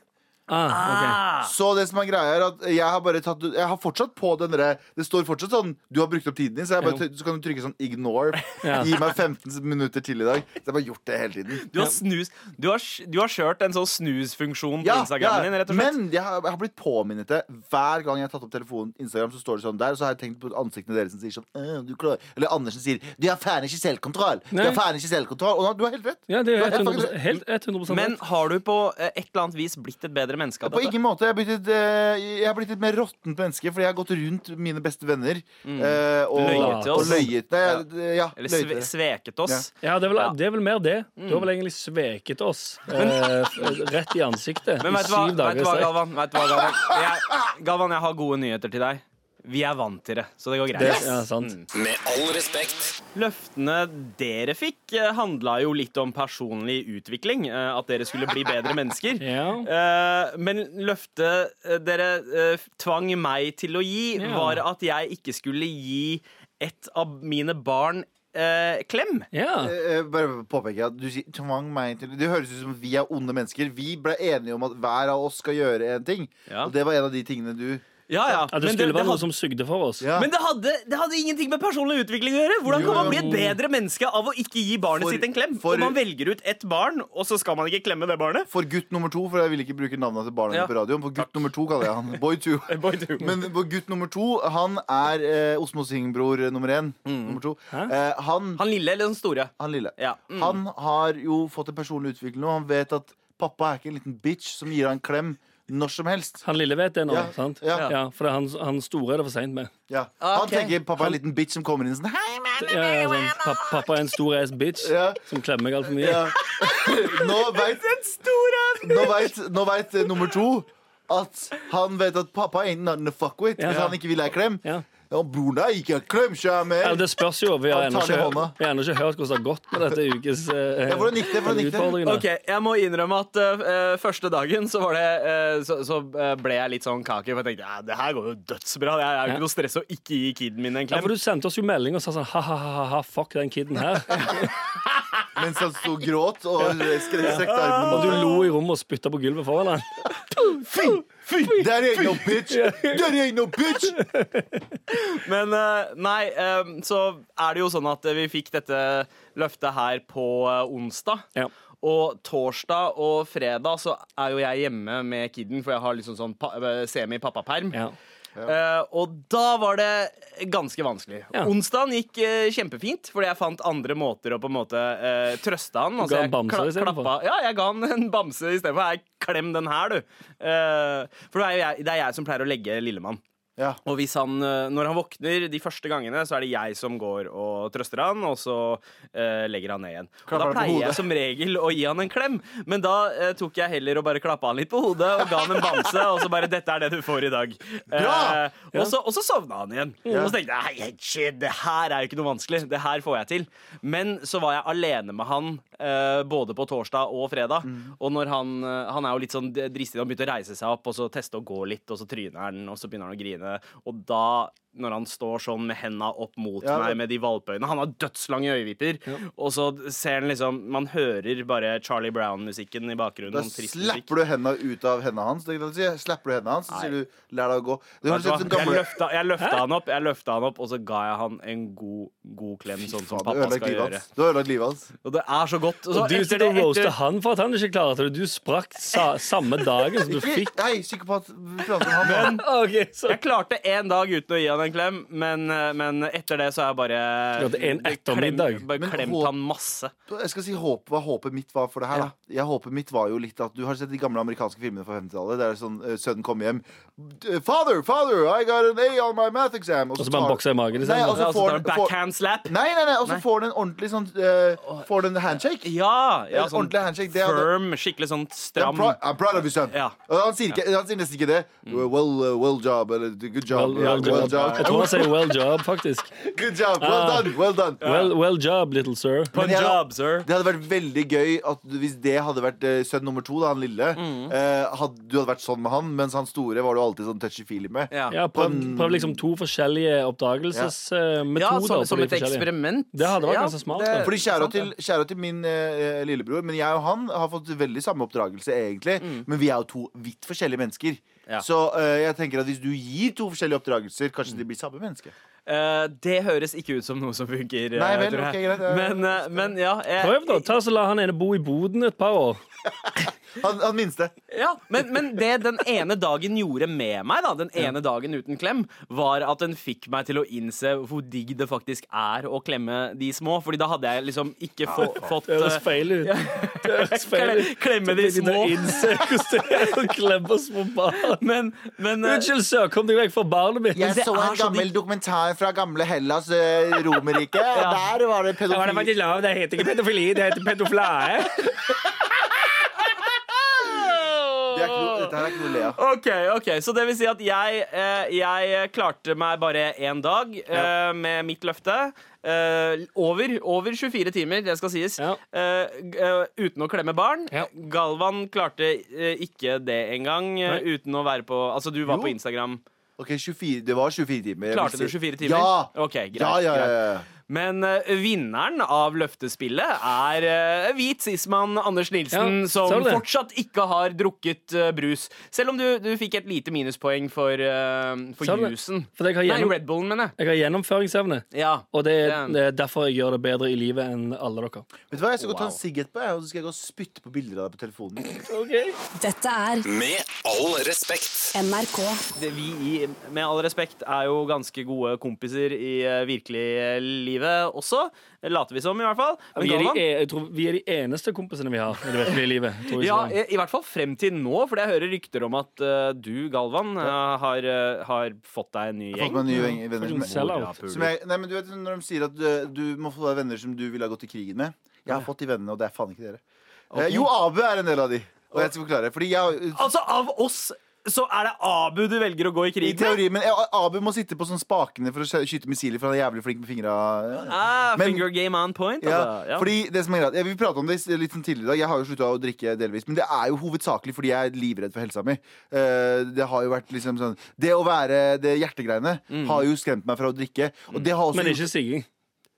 C: Ah, ok.
D: Ah,
B: Så det som er greia, er at jeg har bare tatt Jeg har fortsatt på den derre Det står fortsatt sånn Du har brukt opp tiden din, så, jeg bare,
C: Ja.
B: tryk- så kan du trykke sånn ignore.
C: Ja.
B: Gi meg 15 minutter til i dag. Så jeg har bare gjort det hele tiden.
D: du har snus Du har, sj- du har kjørt en sånn snusfunksjon på
B: Ja,
D: Instagramen din,
B: ja,
D: rett og slett.
B: men jeg har, jeg har blitt påminnet det. Hver gang jeg har tatt opp telefonen, Instagram, så står det sånn der. Og så har jeg tenkt på ansiktene deres som sier sånn «Øh, du klarer. Eller Andersen sier 'Du har faen ikke selvkontroll'. Du
C: Nei.
B: har faen ikke selvkontroll. Og du har helt rett.
C: Ja, det
B: Du
C: er jo
B: har
C: helt
B: helt
C: 100,
B: faktisk-
C: helt 100
D: Men
C: rett.
D: har du på eh, et eller annet vis blitt et bedre menneske av
B: På
D: dette?
B: ingen måte. Jeg har blitt et, eh, jeg har blitt et mer råttent menneske fordi jeg har gått rundt mine beste venner. eh, og
D: Mm. Løyet til
B: og
D: oss.
B: løyet. Nei, jeg- ja, løyet
D: Eller
B: til
D: sve,
B: dere.
D: sveket oss?
C: Ja, det er, vel,
D: Ja.
C: det er vel mer det. Du
B: Mm.
C: har vel egentlig sveket oss eh, rett i ansiktet
D: Men
C: i
D: vet du hva,
C: syv
D: vet
C: dager
D: du hva
C: i strekk.
D: Galvan? Vet du hva, Galvan? Jeg, Galvan, jeg har gode nyheter til deg. Vi er vant til det, så det går greit.
C: Det- ja, sant.
B: Mm.
A: Med all respekt.
D: Løftene dere fikk, eh, handla jo litt om personlig utvikling. eh, At dere skulle bli bedre mennesker.
C: Ja.
D: Eh, Men løftet eh, dere eh, tvang meg til å gi,
C: Ja.
D: var at jeg ikke skulle gi et av mine barn eh, klem.
C: Ja.
B: Eh, eh, Bare påpeker jeg at du sier tvang meg til Det høres ut som vi er onde mennesker. Vi ble enige om at hver av oss skal gjøre en ting.
D: Ja.
B: Og det var en av de tingene du
D: Ja, ja.
C: At det
D: Men
C: skulle være noe
D: hadde-
C: som sugde for oss.
B: Ja.
D: Men det hadde, det hadde ingenting med personlig utvikling å gjøre. Hvordan
B: Jo,
D: kan man bli
B: jo.
D: et bedre menneske av å ikke gi barnet
B: For-
D: sitt en klem?
B: for-
D: og man velger ut ett barn, og så skal man ikke klemme det barnet?
B: For gutt nummer to, for jeg vil ikke bruke navnet til barna
D: Ja.
B: på radioen. For gutt nummer to kaller jeg han. Boy two. Men på gutt nummer to, han er eh, Osmo Singh-bror nummer én.
D: Mm.
B: Nummer to. Eh, han,
D: Han lille eller den store?
B: han lille.
D: Ja. Mm.
B: Han har jo fått en personlig utvikling nå. Han vet at pappa er ikke en liten bitch som gir han en klem når som helst.
C: Han lille vet det nå,
B: Ja,
C: sant?
B: ja.
C: Ja, for det er han, han store er det for seint med.
B: Ja. Han
D: Ok.
B: tenker pappa er en liten bitch som kommer inn sånn Hei, man.
C: Ja, ja, sånn, pappa, pappa er en stor ass bitch
B: Ja.
C: som klemmer meg altfor mye.
B: Ja. Nå veit nå vet- nå vet, eh, nummer to at han vet at pappa ain't nothing to fuck with.
C: Ja.
B: Hvis han ikke vil ha en klem.
C: Ja.
B: Ja, broren der gikk jeg en klem, kjære meg.
C: Ja, det spørs jo. Vi har
B: Han
C: ennå
B: tar det i
C: ikke,
B: hånda.
C: vi har ennå ikke hørt hvordan det har gått med dette ukes eh,
B: Ja, hvordan gikk det? Hvordan gikk det?
C: utfordringene.
D: Ok, Jeg må innrømme at eh, eh, første dagen så, var det, eh, så, så eh, ble jeg litt sånn kaki. For jeg tenkte ja, det her går jo dødsbra. Det er jo
C: Ja.
D: ikke noe stress å ikke gi kiden min en
C: Ja,
D: klem.
C: for Du sendte oss jo melding og sa sånn ha-ha-ha, fuck den kiden her.
B: Mens han sto og gråt og skre- strekte armene
C: Og
B: mot
C: du lo i rommet og spytta på gulvet foran han.
B: Fy! Fy! That ain't no bitch! That ain't no bitch!
D: Men eh, nei, eh, så er det jo sånn at eh, vi fikk dette løftet her på eh, onsdag.
C: Ja.
D: Og torsdag og fredag så er jo jeg hjemme med kiden, for jeg har liksom sånn pa eh, semi-pappaperm.
C: Ja.
D: Eh, og da var det ganske vanskelig.
C: Ja.
D: Onsdagen gikk eh, kjempefint, fordi jeg fant andre måter å på en måte eh, trøste han.
C: ga han
D: jeg
C: bamser
D: kla-
C: istedenfor?
D: klappa- Ja, jeg ga han en bamse istedenfor. Her, Klem den her, du. Eh, for det er, jo jeg, det er jeg som pleier å legge lillemann.
B: Ja.
D: Og hvis han, eh, når han våkner de første gangene, så er det jeg som går og trøster han, og så eh, legger han ned igjen. Og da
B: Klapper han på
D: pleier jeg
B: hodet.
D: som regel å gi han en klem, men da eh, tok jeg heller og bare klappa han litt på hodet og ga han en bamse, og så bare 'Dette er det du får i dag'.
B: Bra!
D: Eh, og, så, og så sovna han igjen. Og så tenkte jeg hei, hei, shit, det her er jo ikke noe vanskelig. Det her får jeg til. Men så var jeg alene med han eh, både på torsdag og fredag.
B: Mm.
D: Og når han, eh, han er jo litt sånn dristig, han begynte å reise seg opp og så teste å gå litt, og så tryner han, og så begynner han å grine. Og da når han står sånn med henda opp mot
B: Ja, det-
D: meg med de valpeøynene. Han har dødslange øyevipper. Og så ser han liksom Man hører bare Charlie Brown-musikken i bakgrunnen.
B: Da
D: sånn trist musikk.
B: slapper du henda ut av henda hans. Det kan du si. Slapper du henda hans, så
D: Nei.
B: sier du 'lær deg å gå'. Det
D: Vet
B: høres ut
D: du hva?
B: som
D: Jeg
B: gamle
D: løfta, jeg løfta han opp, jeg løfta han opp og så ga jeg han en god, god klem, sånn
B: Faen,
D: som
B: Du har
D: pappa
B: ødelagt
D: skal
B: livet
D: gjøre.
B: hans. Du har ødelagt livet hans.
D: Og det er så godt. så
C: Og du
D: etter
C: sitter og
D: det-
C: roaster
D: etter-
C: han for at han ikke klarte det. Du sprakk sa samme dagen som du fikk.
B: Ikke- Hei, psykopat. Vi prater om han. da.
C: Ok, så
D: Jeg klarte én dag uten å gi han en klem, men, eh, men etter det så er jeg bare
C: Klarte en ettermiddag.
D: klem- Bare
B: Men
D: klemt
B: hå-
D: han masse.
B: Jeg skal si håp, hva håpet mitt var for det her. Da. Jeg håpet mitt var jo litt at Du har sett de gamle amerikanske filmene fra 50-tallet. Der sånn, eh, sønnen kommer hjem. D- 'Father, father, I got an A on my math exam.'
C: Og så bare
B: tar-
C: bokser i magen, liksom.
B: Nei, og
D: Og så
B: så får han får- Mm.
D: backhand slap.
B: Nei, nei, nei, og
D: Nei.
B: så får han en ordentlig sånn eh, Får han en handshake.
D: Ja, ja
B: En
D: sånn
B: ordentlig handshake. Det hadde-
D: firm, skikkelig sånn
B: I'm,
D: stram.
B: prou- I'm proud of you, son.
D: Ja.
B: Og han, sier ikke, han sier nesten ikke det. Well, uh, well job, eller good job.
C: Well, well
B: well
C: job. Jeg tror han sier well job, faktisk.
B: Good job, well
C: Ah.
B: done, well done.
C: Well, well job, little sir.
B: Men jeg-
D: Punjab, sir.
B: Det hadde vært veldig gøy at du- hvis det hadde vært eh, sønn nummer to, da, han lille. eh, hadde, du hadde vært sånn med han, mens han store var du alltid sånn touchy-feely med.
D: Ja.
C: Ja, prøv, prøv liksom to forskjellige eh, oppdagelsesmetoder.
D: Ja, som, som et eksperiment.
C: Det hadde vært
D: ja,
C: ganske smart,
D: det-
C: da.
B: Fordi kjære
D: sant,
B: til, kjære til min eh, lillebror, men jeg og han har fått veldig samme oppdragelse, egentlig. Men vi er jo to vidt forskjellige mennesker.
D: Ja.
B: Så eh, jeg tenker at hvis du gir to forskjellige oppdragelser, kanskje de blir samme menneske.
D: Eh, det høres ikke ut som noe som funker. eh,
B: Nei vel,
D: tror
B: ok,
D: jeg.
B: greit, ja.
D: Men, eh, men ja. jeg-
C: Prøv, da. Ta så La han ene bo i boden et par år.
B: Han, han minste.
D: Ja, men, men det den ene dagen gjorde med meg, da, den ene dagen uten klem, var at den fikk meg til å innse hvor digg det faktisk er å klemme de små. Fordi da hadde jeg liksom ikke få, fått
C: Det høres
D: eh,
C: feil ut. Det høres feil ut.
D: Klemme de
C: Begynner å
D: små.
C: innse hvordan det er å klemme små barn.
D: Men, men eh,
C: Unnskyld, sir. Kom deg vekk fra barnet mitt.
B: Jeg
D: det
B: så
D: er
B: en
D: så
B: gammel dokumentar fra gamle Hellas, eh, Romerriket. Der var det pedofili.
C: lov. Det heter ikke pedofili, det heter pedoflae.
B: Det er ikke noe- Dette her er ikke noe å le av.
D: OK, ok, så det vil si at jeg, eh, jeg klarte meg bare én dag eh, med mitt løfte. Eh, over, over 24 timer, det skal sies.
C: Ja.
D: Eh, g- eh, uten å klemme barn.
C: Ja.
D: Galvan klarte eh, ikke det engang. eh,
C: Nei.
D: Uten å være på Altså, du var
B: Jo.
D: på Instagram.
B: Ok, 24, Det var 24 timer. Jeg
D: Klarte
B: vil
D: du
B: si-
D: 24 timer?
B: Ja!
D: Ok, greit,
B: ja, ja, ja, ja.
D: Men eh, vinneren av løftespillet er eh, hvit sismann Anders Nilsen,
C: Ja,
D: som
C: ser du det?
D: fortsatt ikke har drukket eh, brus. Selv om du, du fikk et lite minuspoeng for, eh,
C: Ser
D: for
C: du det?
D: jusen.
C: For jeg har,
D: Nei,
C: gjennom,
D: Red Bullen, mener jeg.
C: jeg har gjennomføringsevne.
D: Ja.
C: Og det er,
D: Damn.
C: det er derfor jeg gjør det bedre i livet enn alle dere.
B: Vet du hva, Jeg skal gå og ta en
D: Wow.
B: sigg etterpå, jeg, og så skal jeg gå og spytte på bilder av deg på telefonen.
E: Dette er
A: Med all respekt.
E: NRK.
D: Det vi i Med all respekt er jo ganske gode kompiser i eh, virkelig eh, livet også. Later vi som, i hvert fall. Men
C: Vi er, de,
D: Galvan?
C: e- jeg tror vi er de eneste kompisene vi har i det virkelige livet. Tror jeg
D: Ja,
C: ikke.
D: i, I hvert fall frem til nå, for jeg hører rykter om at eh, du, Galvan, eh, har, eh, har fått deg en ny
B: Jeg har fått
D: gjeng.
B: meg nye ven- venner
C: Fucking
B: som,
C: sellout.
B: som jeg, nei, men du vet Når de sier at du, du må få deg venner som du ville ha gått i krigen med Jeg har fått de vennene, og det er faen ikke dere. Eh, jo, Abu er en del av de. Og jeg skal forklare. Fordi jeg
D: Altså, av oss så er det Abu du velger å gå i
B: i
D: krig med.
B: teori, men eh, Abu må sitte på sånn spakene for å sky- skyte missiler, for han er jævlig flink med fingra. Ja, ja.
D: Ah,
B: Men-
D: finger game on point.
B: Ja,
D: altså. Ja.
B: fordi det som er greit, ja, Vi pratet om det litt sånn tidligere i dag. Jeg har jo slutta å drikke delvis. Men det er jo hovedsakelig fordi jeg er livredd for helsa mi. Eh, det har jo vært liksom sånn Det å være det hjertegreiene
D: Mm.
B: har jo skremt meg fra å drikke. Og det har også
C: Men ikke sigging.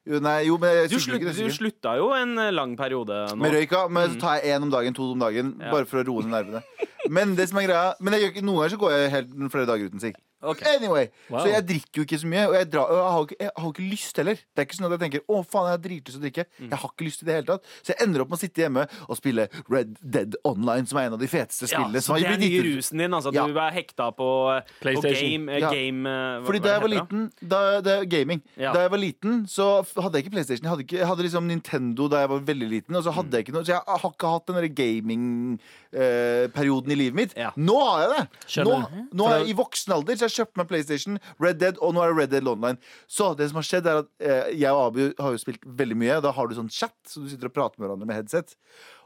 B: Jo, nei, jo, men jeg
D: du,
B: sykler
D: slu,
B: ikke, jeg
D: du
B: sykler.
D: slutta jo en eh, lang periode nå. Mm.
B: Med røyka, men så tar jeg én om dagen, to om dagen. Bare for å roe ned nervene. Men det som er greia Men jeg gjør ikke, noen ganger så går jeg helt flere dager uten sigg.
D: Ok.
B: Anyway,
C: Wow.
B: Så jeg drikker jo ikke så mye, og jeg, drar, og jeg, har, jo ikke, jeg har jo ikke lyst heller. Det er ikke sånn at jeg tenker å faen, jeg har dritlyst til å drikke.
D: Mm.
B: Jeg har ikke lyst til det i det hele tatt. Så jeg ender opp med å sitte hjemme og spille Red Dead Online, som er en av de feteste
D: Ja,
B: spillene.
D: så
B: som har
D: det er
B: blitt
D: nye
B: gitt ut.
D: rusen din. Altså,
B: Ja.
D: Du er hekta på, eh, på
C: PlayStation.
D: game, eh,
B: Ja.
D: game eh, hva-
B: Fordi
D: hva
B: da jeg var
D: heter det?
B: liten da, da, Gaming.
D: Ja.
B: Da jeg var liten, så f- hadde jeg ikke PlayStation. Jeg hadde, ikke, jeg hadde liksom Nintendo da jeg var veldig liten, og så
D: Mm.
B: hadde jeg ikke noe. Så jeg har ikke hatt den gaming-perioden i livet mitt.
D: Ja.
B: Nå har jeg det! Nå,
C: Skjønner.
B: nå er jeg i voksen alder, så jeg kjøpte meg PlayStation, Red Dead, og nå er det Red Dead Online. Så det som har skjedd, er at eh, jeg og Abu har jo spilt veldig mye. Da har du sånn chat, så du sitter og prater med hverandre med headset.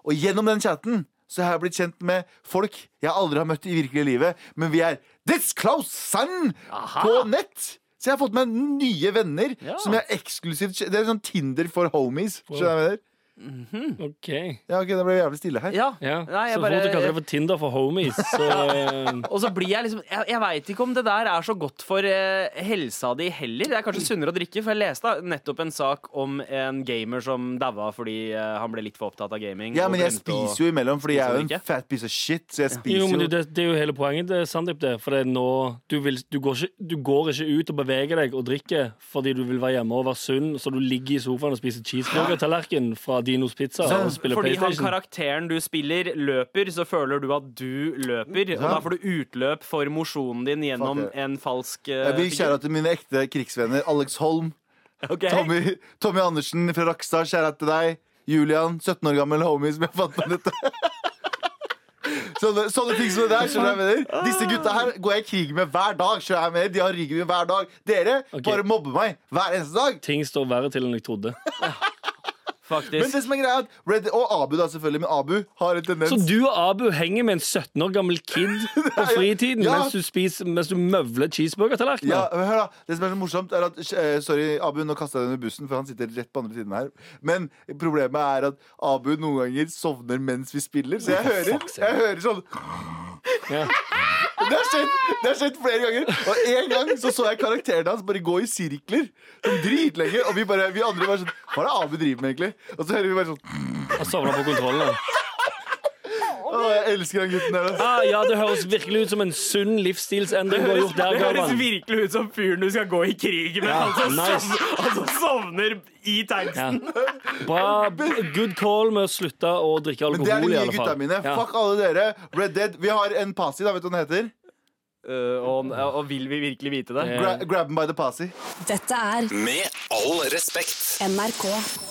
B: Og gjennom den chatten så har jeg blitt kjent med folk jeg aldri har møtt i virkelige livet, men vi er This Klaus Sand på nett! Så jeg har fått meg nye venner
D: Ja.
B: som jeg eksklusivt Det er sånn Tinder for homies. Skjønner du hva jeg mener?
C: OK.
B: Ja, ok, det ble jævlig stille her.
D: Ja.
C: Ja.
D: Nei, jeg
C: så
D: bare-
C: fort du kaller det for Tinder for homies, så eh,
D: Og så blir jeg liksom Jeg, jeg veit ikke om det der er så godt for eh, helsa di heller. Det er kanskje sunnere å drikke, for jeg leste nettopp en sak om en gamer som daua fordi eh, han ble litt for opptatt av gaming.
B: Ja, men jeg spiser jo imellom, fordi jeg er jo
D: Spiser du
B: en
D: ikke?
B: fat piece of shit. Så jeg spiser
C: Jo,
B: jo
C: men du, det, det er jo hele poenget, det, Sandeep. det For det er nå du, vil, du, går ikke, du går ikke ut og beveger deg og drikker fordi du vil være hjemme og være sunn, så du ligger i sofaen og spiser cheeseburger-tallerken fra Dinos Pizza og spiller
D: Sånn, Fordi han
C: PlayStation.
D: karakteren du spiller, løper, så føler du at du løper. Og da får du utløp for mosjonen din gjennom
B: Fuck det.
D: en falsk eh,
B: Jeg vil
D: figur.
B: kjære til mine ekte krigsvenner. Alex Holm,
D: Ok.
B: Tommy, Tommy Andersen fra Rakstad, kjære til deg. Julian, 17 år gammel homie som jeg fant på nettet. Sånne, sånne ting som det der, skjønner du hva jeg mener Disse gutta her går jeg i krig med hver dag. skjønner du hva jeg mener De har ryggen min hver dag. Dere bare mobber meg hver eneste dag.
C: Ting står verre til enn jeg trodde.
B: Men
D: Faktisk.
B: det som er greia er at Red, Og Abu, da selvfølgelig. Men Abu har en tendens
C: Så du og Abu henger med en 17 år gammel kid på fritiden
B: Ja.
C: mens, du spiser, mens du møvler cheeseburger-tallerkener?
B: Ja, men hør da, Det som er så morsomt, er at eh, Sorry, Abu, nå kasta jeg deg under bussen, for han sitter rett på andre siden her. Men problemet er at Abu noen ganger sovner mens vi spiller, så jeg hører,
C: fuck's sake.
B: jeg hører sånn
C: Ja.
B: Det har skjedd det har skjedd flere ganger. Og en gang så så jeg karakteren hans bare gå i sirkler sånn dritlenge. Og vi, bare, vi andre bare sånn Hva er det Abu driver med, egentlig? Og så hører vi bare sånn
C: Jeg sovna på kontrollen.
B: Å, jeg elsker han gutten der. altså. ass.
C: Ah, ja, det høres virkelig ut som en sunn livsstilsendring du har gjort der,
D: Det høres
C: Galvan.
D: virkelig ut som fyren du skal gå i krig med, han, som
C: nice.
D: sovner, han som sovner i
C: Ja.
D: tanksen.
C: Bra, good call med å slutte å drikke
B: Men det er de
C: alkohol, i
B: nye
C: alle fall.
B: gutta mine.
C: Ja.
B: Fuck alle dere. Red Dead. Vi har en Pasi, da. Vet du hva den heter?
D: Eh, og, og vil vi virkelig vite det?
C: Eh,
B: Gra grab 'em by the Pasi.
E: Dette er
A: Med all respekt.
E: NRK.